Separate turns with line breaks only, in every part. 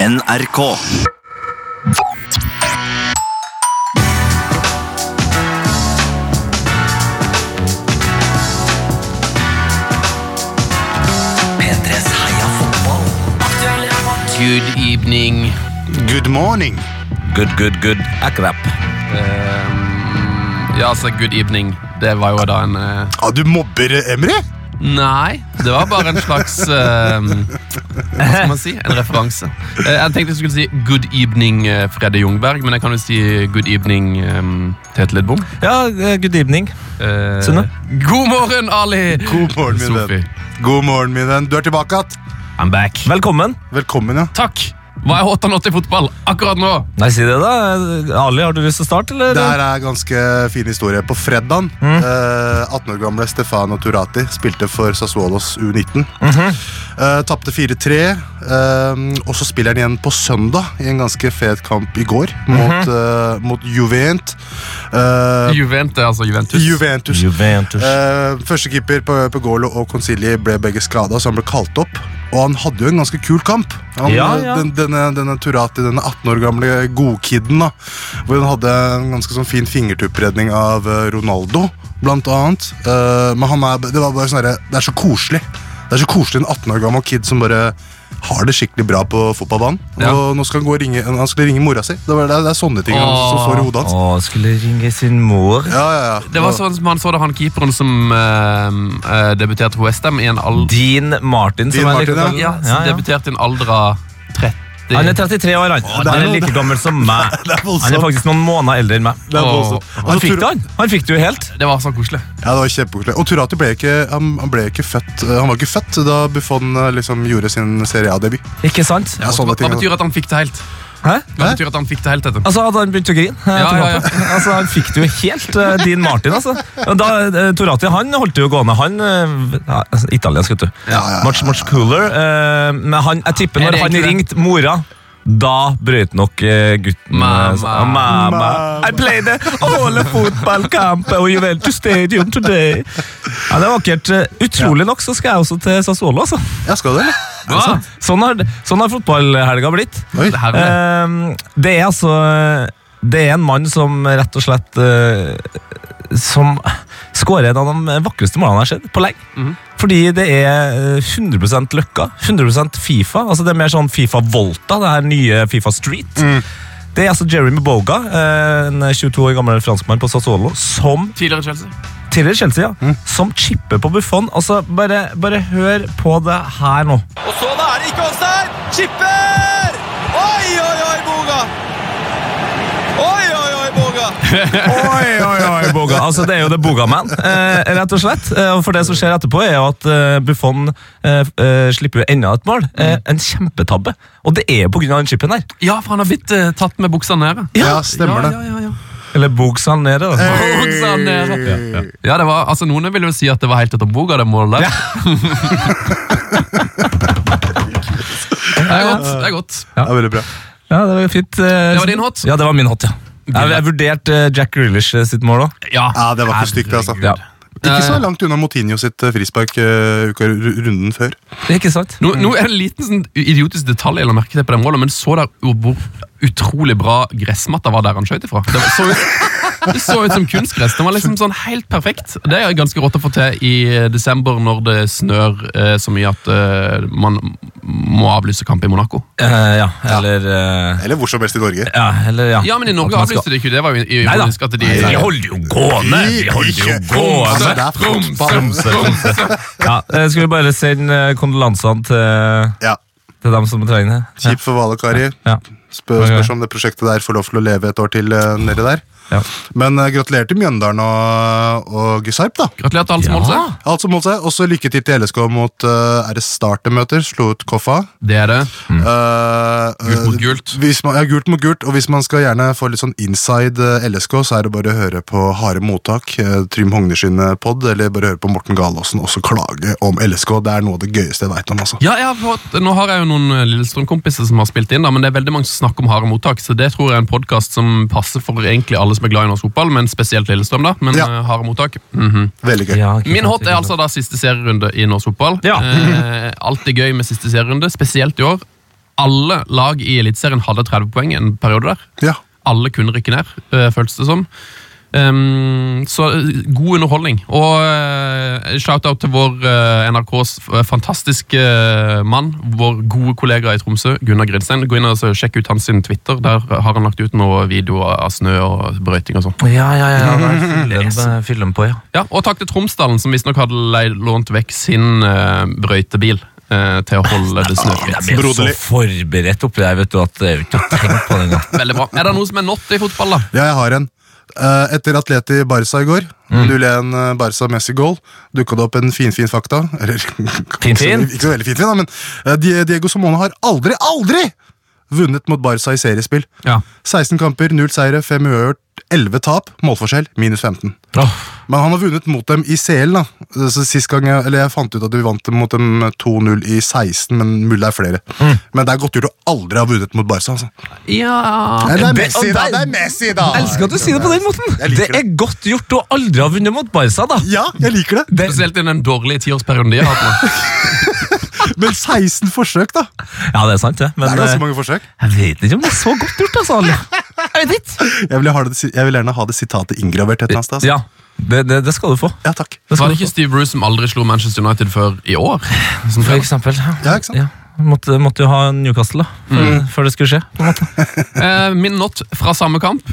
NRK. P3s Heia fotball.
Good evening.
Good morning.
Good, good, good. Akrap.
Ehm, eh, ja, altså, good evening. Det var jo da en eh,
Ah, du mobber eh, Emry?
Nei, det var bare en slags ehm, Hva skal man si? En referanse. Eh, jeg tenkte jeg skulle si good evening eh, Freddy Jungberg, men jeg kan jo si good evening ehm, Tete Lidbom.
Ja, eh, good evening.
Eh,
Sunne?
God morgen, Ali!
God morgen, min
Sofie.
venn. God morgen, min venn. Du er tilbake igjen.
I'm back.
Velkommen.
Velkommen, ja.
Takk! Hva er 8-8 i fotball akkurat nå?
Nei, si det, da. Eh, Ali, har du lyst til å starte, eller?
Det her er en ganske fin historie. På fredagen, eh, 18 år gamle Stefano Turati spilte for Sassuolos U19. eh, Tapte 4-3, eh, og så spiller han igjen på søndag i en ganske fet kamp i går mot, eh, mot Juvent. Eh,
Juvente, altså Juventus.
Juventus.
Juventus.
Eh, første keeper på, på Golo og Consigli ble begge skada, så han ble kalt opp. Og han hadde jo en ganske kul kamp. Han,
Ja, ja.
Den, denne, denne Turati, denne 18 år gamle godkiden, da, hvor han hadde en ganske sånn fin fingertuppredning av eh, Ronaldo, blant annet. Eh, men han er, det var bare sånn herre Det er så koselig. Det er så koselig en 18 år gammel kid som bare har det skikkelig bra på fotballbanen.
Ja.
Og nå skal han gå og ringe Han skulle ringe mora si. Det, var, det, er- det er sånne ting han, som
Åh.
får i hodet hans.
Å, skulle ringe sin mor.
Ja, ja, ja.
Det var sånn som han så da han keeperen som eh, eh, debuterte for Westham i en alder
Dean Martin, som
Dean
jeg liker å
Martin,
kalle
ja,
ham.
som debuterte i en alder av 30.
Han er 33 år, han.
det er
Han er
noe-
like gammel som meg.
Det er voldsomt.
Han er faktisk noen måneder eldre enn meg.
Det er
Åh.
voldsomt.
Han fikk det, han. Han fikk det jo helt.
Det var så koselig.
Ja, det var kjempekoselig. Og Turati ble ikke, han, han ble ikke født eh, Han var ikke født da Buffon eh, liksom gjorde sin Serie A-debut.
Ikke sant?
Ja, sånne
hva,
ting,
hva betyr at han fikk det helt?
Hæ?
Hva
Hæ?
betyr at han fikk det helt, Tete?
Altså, Hadde han begynt å grine? eh,
Ja,
etter
ja, ja.
kampen. Altså, Han fikk det jo helt, eh, Dean Martin. altså. Da, eh, Torati han holdt det jo gående. Han eh, ja, altså, Italiensk, vet du.
Ja, ja, ja.
Much, much cooler. eh, men han, jeg tipper
Er
når
det
han
egentlig
ringte mora da brøt nok eh, gutten
Mamma.
eh, sa- ah, mamma.
Mamma.
I played all the fotballkamp og Juventus Stadium today. Ja, det er vakkert. Eh, Utrolig nok så skal jeg også til Sassuolo. altså.
Ja, skal du, eller?
Hva?
Sånn har, sånn har fotballhelga blitt.
Oi.
Det her ble
Ehm, det er altså Det er en mann som rett og slett eh, Som skårer en av de vakreste målene jeg har sett på lenge.
Mhm.
Fordi det er eh, 100 Løkka, 100 Fifa. Altså Det er mer sånn Fifa Volta, det her nye Fifa Street. Det er altså Jeremy Boga, eh, en 22 år gammel franskmann på Sassuolo, som
Tidligere Chelsea.
tidligere Chelsea, ja, som chipper på Buffon. Altså, bare, bare hør på det her nå.
Og så da er det ikke offside! Chipper! Oi, oi, oi, Boga! Oi, oi, oi, Boga!
Oi, oi, oi, Boga. Altså, det er jo The Bogaman, eh, rett og slett. Eh, og for det som skjer etterpå, er jo at eh, Buffon eh, eh, slipper jo enda et mål. Eh,
Mm.
en kjempetabbe. Og det er jo på grunn av den chipen her.
Ja, for han har blitt eh, tatt med buksa nede.
Ja, stemmer det.
Ja, ja, ja, ja.
Eller Bogsan nede, da.
Eh. Buksa nede. Ja, det var, altså Noen vil jo si at det var helt etter boka, det målet. der. det er godt. det er godt.
Ja, veldig bra.
Ja, det var fint. eh,
Det var din hot?
Ja, det var min hot, ja. Jeg, jeg vurderte eh, Jack Grealish eh, sitt mål òg.
Ja,
Ja, det var ikke stygt, altså.
Ja.
Ikke så langt unna Motinho sitt eh, frispark eh, uka ru- runden før.
Ikke sant?
Nå, nå er det en liten sånn idiotisk detalj, eller merket jeg på det målet, men så der hvor- hvor utrolig bra gressmatta var der han skjøt ifra. Det, var- så ut, det så ut som kunstgress. Det var liksom sånn helt perfekt. Det er ganske rått å få til i eh, desember når det snør eh, så mye at eh, man må avlyse kamp i Monaco.
Eh, ja, eller eh,
Eller hvor som helst i Norge.
ja, eller ja.
Ja, men i Norge
At man skal-
avlyste de ikke. Det var jo i-
Nei da.
ironisk at de
Vi holder jo gående! Vi holder jo
Altså,
gående!
det er fotball.
Ja, eh, skal vi bare sende eh, kondolansene til, eh,
Ja.
til dem som trenger det?
Kjipt for Hvala, Kari.
Ja.
Spør, spørs om det prosjektet der får lov til å leve et år til eh, nede der.
Ja.
Men eh, gratulerer til Mjøndalen og, og Sarp, da.
Gratulerer til alle som
Ja.
holdt seg.
Alt som holdt seg. Også lykke til til LSK mot uh, RS Start de møter. Slo ut Koffa.
Det er det.
Eh,
Mm. Gult mot
eh,
gult.
Hvis man, ja, gult mot gult. Og hvis man skal gjerne få litt sånn inside eh, LSK, så er det bare å høre på Harde mottak, eh, Trym Hogne sin eh, pod, eller bare høre på Morten Galaasen også klage om LSK. Det er noe av det gøyeste jeg veit om, altså.
Ja, jeg har fått, Nå har jeg jo noen eh, Lillestrøm-kompiser som har spilt inn, da, men det er veldig mange som snakker om harde mottak. Så det tror jeg er en podkast som passer for egentlig alle som er glad i norsk fotball, men spesielt Lillestrøm. da, men
Ja.
eh, harde mottak. Mhm.
Veldig gøy.
Min hot er altså da siste serierunde i norsk fotball.
Ja.
Eh, alltid gøy med siste serierunde, spesielt i år. alle lag i Eliteserien hadde 30 poeng en periode der.
Ja.
Alle kunne rykke ned, eh, føltes det som. Ehm, så eh, god underholdning. Og eh, shout-out til vår eh, NRKs f- fantastiske eh, mann, vår gode kollega i Tromsø, Gunnar Gridstein. Gå inn og så sjekk ut hans sin Twitter. Der har han lagt ut noen videoer av snø og brøyting og sånn.
Ja, ja, ja. Fyll den på, ja.
Ja, og takk til Tromsdalen, som visstnok hadde leid, lånt vekk sin eh, brøytebil eh, til å holde det snøfritt.
Jeg ble så
Broderlig.
forberedt oppi der, vet du, at jeg ikke har tenkt på det engang.
Veldig bra. Er det noe som er nått i fotball, da?
Ja, jeg har en. Eh, etter Atleti Barca i går, 0-1 eh, Barca Messi-goal, dukka det opp en finfin fin fakta. Eller
Fin-fin?
ikke så veldig fin-fin, da, men eh, Die- Diego Somone har aldri, aldri vunnet mot Barca i seriespill.
Ja.
16 kamper, 0 seire, 5 uavgjort, 11 tap, målforskjell minus 15. Men han har vunnet mot dem i CL. da Så sist gang jeg, eller jeg fant ut at vi vant dem mot dem 2-0 i 16, men mulig det er flere. Men det er godt gjort å aldri ha vunnet mot Barca. Altså.
Ja
Nei, det er
det-
Messi,
og
da!
der-
Det er Messi, da!
Jeg elsker at du sier det på den måten!
Jeg
Det
liker
er godt gjort å aldri ha vunnet mot Barca, da.
Ja, jeg liker det.
Det,
Spesielt i den dårlige tiårsperioden de har hatt nå.
Men 16 forsøk, da!
ja, det er sant, det.
Det
Men
er ganske
eh,
mange forsøk.
jeg vet ikke om det er så godt gjort, altså. alle. Jeg vet ikke.
Jeg vil, ha det, jeg vil gjerne ha det sitatet inngravert et eller annet sted. altså.
Ja, det, det, det skal du få.
Ja, takk.
Det
Var
skal
det
du
ikke
få.
Steve Bruce som aldri slo Manchester United før i år? Som
For
trener?
eksempel.
Ja, ikke sant?
Ja. Måtte, måtte jo ha Newcastle da, før,
Mm.
før det skulle skje. på en måte.
Eh, Min not fra samme kamp.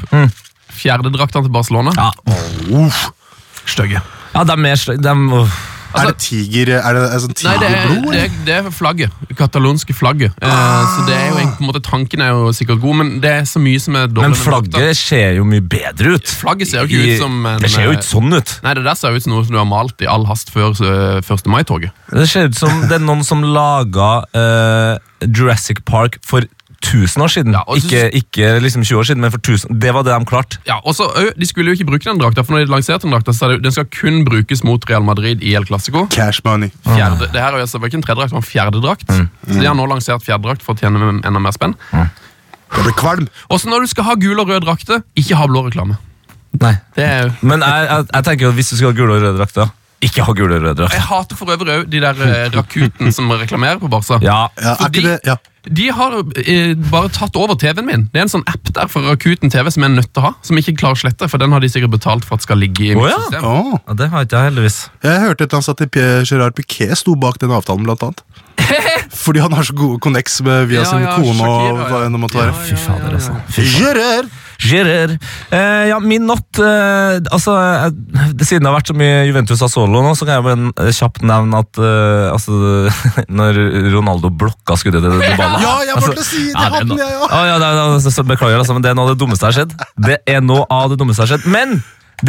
Fjerdedraktene til Barcelona.
Mm. Ja.
Uff.
Stygge.
Ja, de er sl- de, åh.
er det tiger Er det er sånn
Nei, det er,
eh.
tigerblod?
det,
eller?
er, det er flagget. det Katalonske flagget. Eh, så det er jo egentlig, på en måte, Tanken er jo sikkert god, men det er så mye som er dårlig.
Men
med drakta.
flagget ser jo mye bedre ut.
Flagget ser jo ikke ut som en, eh,
Det ser jo ikke sånn ut.
Nei, det der ser jo ut som noe som du har malt i all hast før eh, 1. mai-toget.
Det ser ut som det er noen som laga eh, Jurassic Park for 1000 år siden.
Ja, og så-
ikke, ikke liksom 20 år siden, men for 1000. Det var det de klarte.
Ja, og så, ø, De skulle jo ikke bruke den drakta, for når de lanserte den drakta, så sa de jo, den skal kun brukes mot Real Madrid i El Clásico.
Cash money.
Ah.
Fjerde, det her er jo altså det var ikke en tredjedrakt, det var en fjerdedrakt.
Mm.
Så de har nå lansert fjerdedrakt for å tjene med enda mer spenn.
Jeg blir kvalm.
Også når du skal ha gul og rød drakte, ikke ha blå reklame. Det er jo...
Men jeg, jeg, jeg tenker jo at hvis du skal ha gule og røde drakter, ikke ha gule og røde drakter.
Jeg hater for øvrig òg de der eh, rakuten som reklamerer på Barca.
Ja,
Ja, er
Fordi-
ikke det ja.
De har eh, bare tatt over TV-en min. Det er en sånn app der for Rakuten TV som jeg er nødt til å ha. Som jeg ikke klarer å slette, for den har de sikkert betalt for at skal ligge i mitt
Å, ja.
system.
Åh.
Ja, det har ikke jeg heldigvis.
Jeg hørte et eller annet sted at Pierre Gerard Piquet sto bak den avtalen, blant annet. Fordi han har så gode connects med, via
Ja,
sin
ja,
kone og
Shakira,
hva
ja.
enn det måtte være.
Fy fader, altså.
Gerard!
Gerard. Eh, ja, min natt eh, Altså, eh, siden det har vært så mye Juventus av solo nå, så kan jeg bare eh, kjapt nevne at eh, altså, når Ronaldo blokka skuddet til Dybala
Ja, jeg måtte si det!
ja, det er
hadde
no-
jeg òg!
Å, ja, det er no- så- så beklager, altså, men det er noe av det dummeste som har skjedd. Det er noe av det dummeste som har skjedd. Men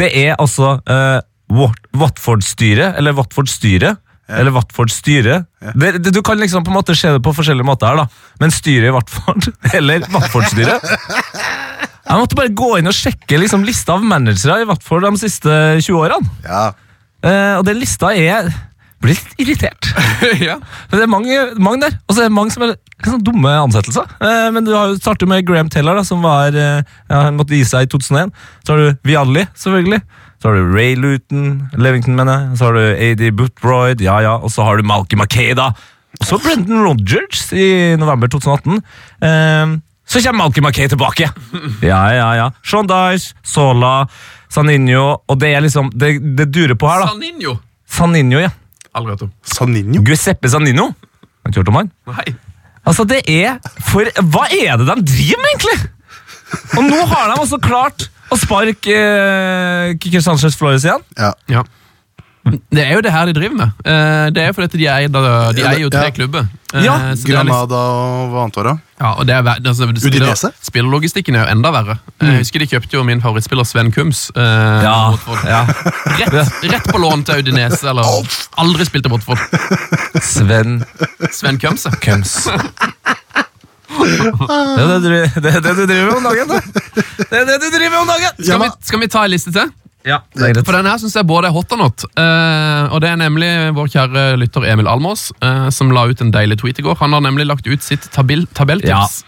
det er altså eh, Wat- Watford-styret, eller Watford-styret, eller Watford-styret. Det- det- Du kan liksom på en måte se det på forskjellige måter her, da. Men styret i Watford, eller Watford-styret Jeg måtte bare gå inn og sjekke liksom, lista av managere i Watford de siste 20 årene.
Ja.
Eh, og den lista er Blir litt irritert.
ja.
Men det er mange, mange der, og så er det mange som er litt sånn dumme ansettelser. Eh, men du har jo startet med Graham Taylor, da, som var, eh, ja, han måtte gi seg i 2001. Så har du Vialli, selvfølgelig. Så har du Ray Luton, Levington, mener jeg. Så har du A.D. Boothroyd, ja ja. Og så har du Malky Mackay, da. Og så Brendan Rodgers i november 2018. Eh, så kommer Malky Mackay tilbake. Ja, ja, ja. Sean Dyche, Sola, Saninho, og det er liksom Det, det durer på her, da.
Saninho.
Saninho, ja.
Aldri hørt om.
Saninho.
Guiseppe Sanino. Har du ikke hørt om han?
Nei.
Altså, det er for Hva er det de driver med, egentlig?! Og nå har de altså klart å sparke eh, Kicker Sanchez Flores igjen.
Ja.
Ja. Det er jo det her de driver med. Eh, Det er jo fordi at de eier, da- de eier jo tre
Ja.
klubber. Eh,
Ja,
så det er liksom-
Granada og hva annet var det?
ja, og det er, ver- altså, det-
Udinese?
Spillerlogistikken er jo enda verre. Jeg husker de kjøpte jo min favorittspiller Sven Kums. eh, mot Watford. Rett, rett på lån til Udinese, eller aldri spilte Watford.
Sven
Sven Kums, ja.
Køms. Det er det du, det, er det du driver med om dagen, du. Det er det du driver med om dagen!
Skal vi, skal vi ta en liste til?
Ja, det er greit.
For denne her synes jeg både er hot og not. Eh, og det er nemlig vår kjære lytter Emil Almås eh, som la ut en deilig tweet i går. Han har nemlig lagt ut sitt tabell, tabelltips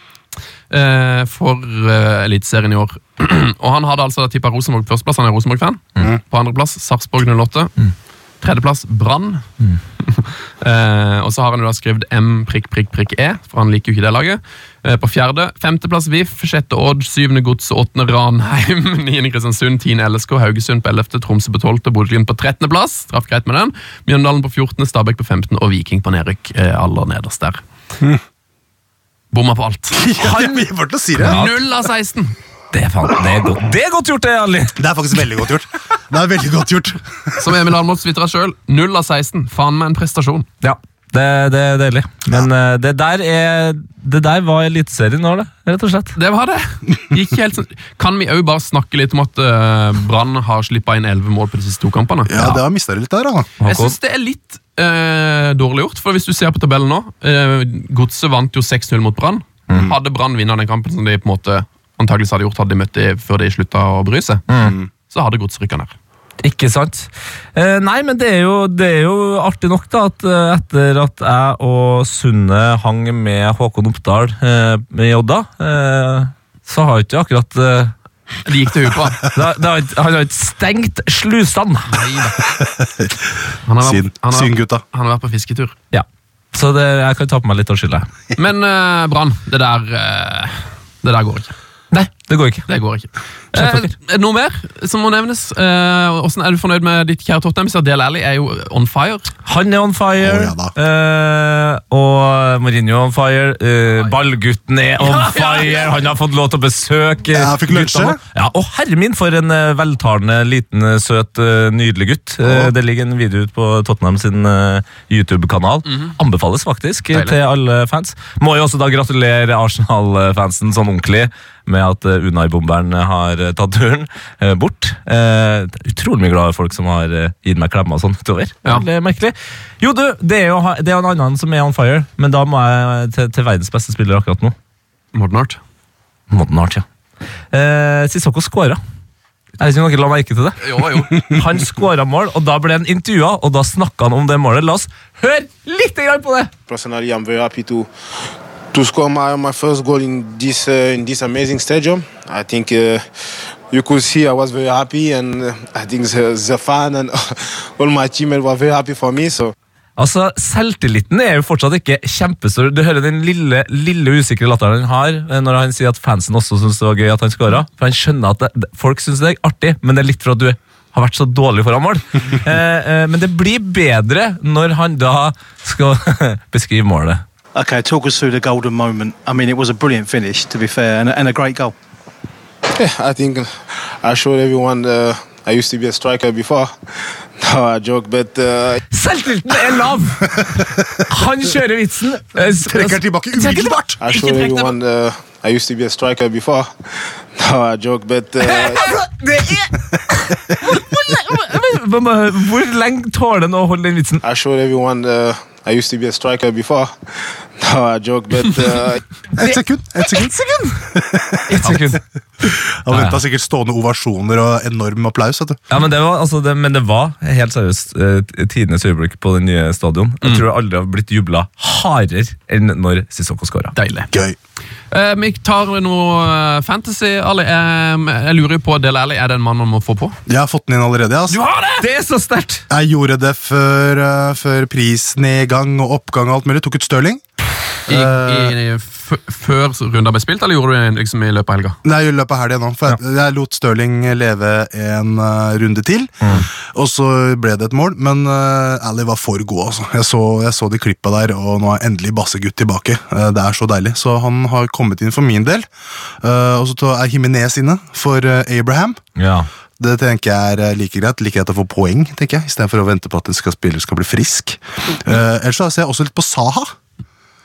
eh, for uh, Eliteserien i år. og han hadde altså tippa Rosenborg førsteplass, han er Rosenborg-fan. På andreplass Sarpsborg 08. Tredjeplass Brann. Eh, og så har han jo da skrevet M prikk, prikk, prikk E, for han liker jo ikke det laget. Eh, på fjerde. Femteplass VIF, sjette Odd, syvende Godset, åttende Ranheim, niende Kristiansund, tiende LSK, Haugesund på ellevte, Tromsø på tolvte, Bodø-Glimt på trettende plass. Traff greit med den. Mjøndalen på fjortende, Stabæk på femtende og Viking på nedrykk eh, aller nederst der. Bomma på alt.
Han, jeg var til å si det.
Null av 16!
Det er, faen, det er, godt. Det er godt gjort, det, Ali!
Det er faktisk veldig godt gjort. Det er veldig godt gjort.
Som Emil Almås tvitra sjøl, null av 16. Faen meg en prestasjon.
Ja, det, det er deilig. Men eh, det der er Det der var Eliteserien nå, det, rett og slett.
Det var det. Gikk helt sånn. Kan vi òg bare snakke litt om at eh, Brann har slippa inn 11 mål på de siste to kampene?
Ja, det har mista det litt der, da.
Jeg syns det er litt eh, dårlig gjort, for hvis du ser på tabellen nå uh, Godset vant jo 6-0 mot Brann. Hadde Brann vunnet den kampen som de på en måte antakeligvis hadde gjort hadde de møtt de før de slutta å bry seg, så hadde Godset rykka ned.
Ikke sant? Eh, nei, men det er, jo, det er jo artig nok da, at eh, etter at jeg og Sunne hang med Håkon Oppdal eh, i Odda, eh, så har jo ikke akkurat eh,
De gikk til huet på.
det, har- det har, ikke- Han har ikke stengt slusene!
Han har
Synd.
vært, han
Synd,
har,
gutta.
han har vært på fisketur.
Ja. Så det, jeg kan ta på meg litt av skylda.
Men eh, Brann, det der eh, Det der går ikke.
Nei, det går ikke.
Det går ikke.
Skjønt
Eh, noe mer som må nevnes? Eh, hvordan er du fornøyd med ditt kjære Tottenham? Så Del Alli er jo on fire.
Han er on fire,
Å, ja da.
eh, og Mourinho er on fire. eh, ballgutten er on fire, han har fått lov til å besøke
Ja, fikk
gutta
lunsje.
nå. eh, Ja, og herre min, for en eh, veltalende, liten, eh, søt, eh, nydelig gutt. Eh, det ligger en video ut på Tottenham sin eh, YouTube-kanal. Anbefales faktisk eh,
Mhm. Deilig.
til alle fans. Må jo også da gratulere Arsenal-fansen sånn ordentlig med at eh, Unai-bomberen har eh, tatt turen eh, bort. Eh, det er utrolig mye glade folk som har eh, gitt meg klemmer og sånn utover.
Ja.
Veldig merkelig. Jo, du, det er jo ha- det er jo en annen som er on fire, men da må jeg til, til verdens beste spiller akkurat nå.
Modern Art.
Modern Art, ja. Eh, Sissoko skåra. Jeg vet ikke om dere la merke til det.
Jo, jo.
Han skåra mål, og da ble han intervjua, og da snakka han om det målet. La oss høre litt grann på det!
personally i'm very happy to to score my, my first goal in this uh, in this amazing stadium i think uh, you could see i was very happy and uh, i think the, the fan and all my teammates were very happy for me so
Altså, Selvtilliten er jo fortsatt ikke kjempestor. Du hører den lille lille usikre latteren han har eh, når han sier at fansen også syns det var gøy at han skåra. For han skjønner at det, det- folk syns det er artig, men det er litt for at du har vært så dårlig foran mål. eh, eh, men det blir bedre når han da skal beskrive målet.
Okay, talk us through the golden moment. I mean, it was a brilliant finish, to be fair, and a, and a great goal.
yeah, i think i showed everyone uh, i used to be a striker before now i joke but uh,
Selvtilliten er lav! Han kjører vitsen. eh, s-
Trekker tilbake umiddelbart.
i showed everyone uh, i used to be a striker before now i joke but uh,
Altså, det er hvor, hvor, hvor, hvor lenge tåler han å holde den vitsen?
i showed everyone uh, i used to be a striker before now i joke but uh,
Ett sekund. Et sekund.
Ett sekund! Ett sekund.
Han venta sikkert stående ovasjoner og enorm applaus. vet du.
Ja, men det var, altså det, men det var helt seriøst eh, tidenes øyeblikk på det nye stadion. Jeg tror jeg aldri har blitt jubla hardere enn når Sissoko skåra.
Deilig.
Gøy.
Eh, vi tar noe eh, fantasy. Ali, Eh, jeg lurer jo på Del Alli er det en mann man må få på.
Jeg har fått den inn allerede. ass.
har det! Det er så sterkt!
Jeg gjorde det før, eh, før prisnedgang og oppgang og alt mulig. Tok ut Stirling.
I, i,
Eh.
f- før runden ble spilt, eller gjorde du det liksom i løpet av helga?
Nei, i løpet av helgen nå. For jeg, jeg lot Stirling leve en eh, runde til. Og så ble det et mål, men uh, Ally var for god, altså. Jeg så, jeg så de klippa der, og nå er endelig Bassegutt tilbake. Eh, det er så deilig. Så han har kommet inn for min del. Eh, og så ta- er Himinez inne for eh, Abraham.
Ja.
Det tenker jeg er eh, like greit. Like greit å få poeng, tenker jeg. Istedenfor å vente på at en skal spiller skal bli frisk. Eh, ellers så ser jeg også litt på Saha.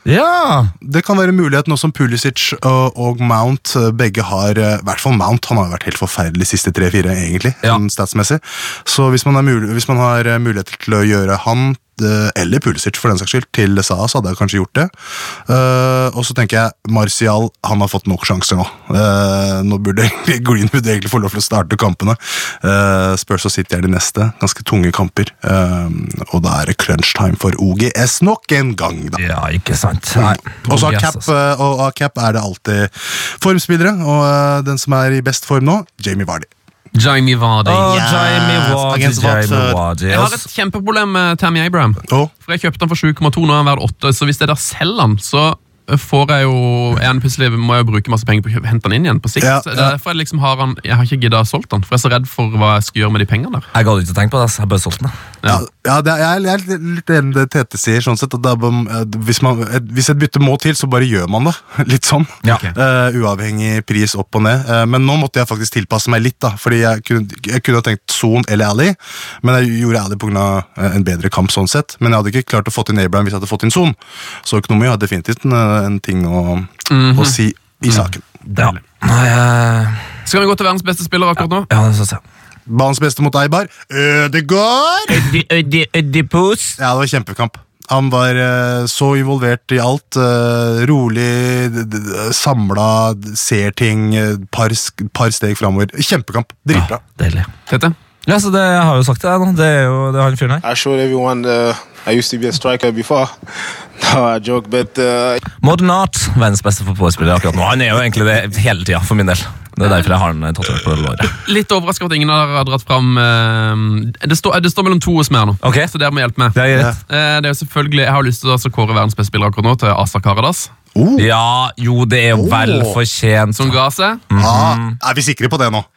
ja.
Det kan være en mulighet nå som Pulisic og, og Mount eh, begge har eh, I hvert fall Mount. Han har jo vært helt forferdelig de siste tre-fire, egentlig.
Ja.
sånn Statsmessig. Så hvis man, er mul hvis man har eh, muligheter til å gjøre han eh, eller Pulisic for den saks skyld, til SA, så hadde jeg kanskje gjort det. Eh, og så tenker jeg Martial han har fått nok sjanser nå. Eh, nå burde egentlig Greenwood egentlig få lov til å starte kampene. Uh, Spørs og City er de neste. Ganske tunge kamper. Eh, og da er det crunch time for OGS nok en gang, da.
ja, ikke sant. Nei.
Og så
Yes,
av cap,
altså.
eh, og av cap er det alltid formspillere, og eh, den som er i best form nå, Jamie Vardy.
Jamie Vardy.
Oh,
Yes,
Jamie Wadi,
against
Jamie
Watford.
Wadi.
Jeg har et kjempeproblem med Tammy Abraham.
Å,
For Jeg kjøpte han for 7,2, nå er han verdt 8. Så hvis jeg der selger han, så får jeg jo er han plutselig må jeg jo bruke masse penger på å kjøpe- hente han inn igjen på sikt.
Ja,
Så
ja.
Derfor jeg liksom har han, jeg har ikke giddet å solgt han, for jeg er så redd for hva jeg skal gjøre med de pengene der.
Jeg gadd ikke å tenke på det. ass. Jeg bare solgte den.
Ja.
ja, det er, jeg er litt- jeg er litt enig i det Tete sier. sånn sett, at det er, bare- eh, hvis, man, eh, hvis et bytte må til, så bare gjør man det. Litt sånn.
Ja.
Eh, uavhengig pris opp og ned. Eh, men nå måtte jeg faktisk tilpasse meg litt, da, fordi jeg kunne, jeg kunne ha tenkt Son eller Ali, men jeg gjorde Ali pga. Uh, en bedre kamp. sånn sett. Men jeg hadde ikke klart å fått inn Abraham hvis jeg hadde fått inn Son. Så økonomi har definitivt en, en ting å,
Mhm.
å si i saken.
Ja. Nei, eh,
Skal vi gå til verdens beste spiller akkurat nå?
ja, det synes jeg.
Banens beste mot Eibar. Ødegaard! Ja, det var kjempekamp. Han var eh, så involvert i alt. eh, rolig, d- d- samla, d- ser ting. eh, par, sk- par steg framover. Kjempekamp. Dritbra.
Deilig.
Tete?
Ja, så det jeg har jo sagt det, nå. Det er jo det er han fyren her.
I showed everyone uh, I used to be a striker before. no, I joke, but uh,
Modern Art, verdens beste fotballspiller akkurat nå. Han er jo egentlig det hele tida, for min del. Det er derfor jeg har han eh, tatovert på låret.
Litt overraska over at ingen har dratt fram eh, det, står, det står mellom to hos meg nå,
Ok.
så dere må hjelpe meg.
Det er greit.
Eh, Det er jo selvfølgelig, Jeg har lyst til å altså kåre verdens beste spiller akkurat nå til Asa Karadas,
Oh,
Ja, jo, det er jo vel fortjent.
som ga seg.
Mm.
ah, er vi sikre på det nå?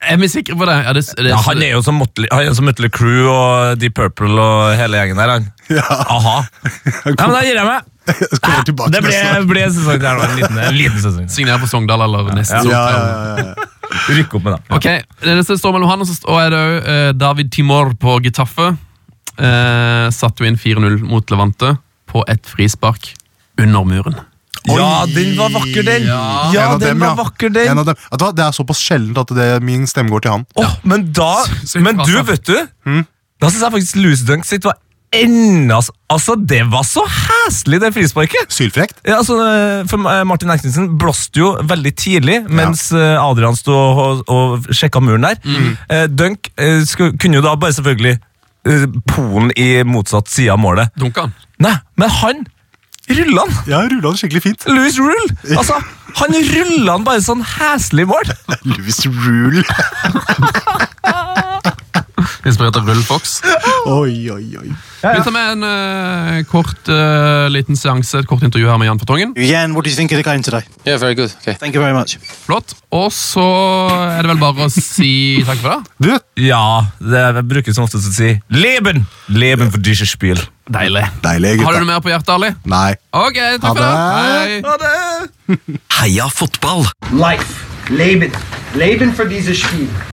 Er vi sikre på det? Ja, det, det
Ja, han er jo som Motley, han er som Motley Crew og Deep Purple og hele gjengen der, han.
Ja,
Aha. Ja, men da gir jeg meg.
jeg kommer tilbake
Ah.
til
Det ble,
neste.
ble en sesong der, nå, en liten, en liten sesong.
Signerer for Sogndal eller nesten
Ja,
Sogndal.
ja, ja, ja.
Rykk opp med det.
Ok, det neste står mellom han og så st- og er det jo eh, David Timor på Getafe. Eh, satt jo inn 4-0 mot Levante på et frispark under muren.
Ja, den var vakker, den.
Ja,
Ja,
en av
den
dem,
var vakker, den.
En av dem. Vet du hva, Det er såpass sjeldent at det, min stemme går til han.
Åh, men da
Sykt
Men
bra,
du,
Sam.
altså.
vet du
Hmm?
Da synes jeg faktisk Loose Dunk sitt var enda s- Altså, det var så hæslig, det frisparket!
Sylfrekt.
Ja, altså, eh, for eh, Martin Erkningsen blåste jo veldig tidlig, mens eh, Adrian sto og, og sjekka muren der.
Mm.
Eh, Dunk eh, sku- kunne jo da bare selvfølgelig eh, Polen i motsatt side av målet.
Dunka han?
Nei, men han rulla han!
Ja, rulla det skikkelig fint.
Louis Rule! Altså, han rulla han bare sånn hæslig i mål!
Louis Rule.
Inspirert av Rull Fox.
Oi, oi, oi.
Vi tar med en eh, kort eh, liten seanse, et kort intervju her med Jan Fortongen.
Jan, what do you think of the game today?
Yeah, very good. Okay.
Thank you very much.
Flott. Og så er det vel bare å si takk for det.
Du,
Ja, det jeg bruker som oftest å si Leben! Leben for dieses Spiel.
Deilig.
deilig,
Har du
gutta.
noe mer på hjertet, Ali?
Nei.
Ok, takk for det.
Ha
Hei.
Heia fotball!
Life. Leben. Leben für dieses Spiel.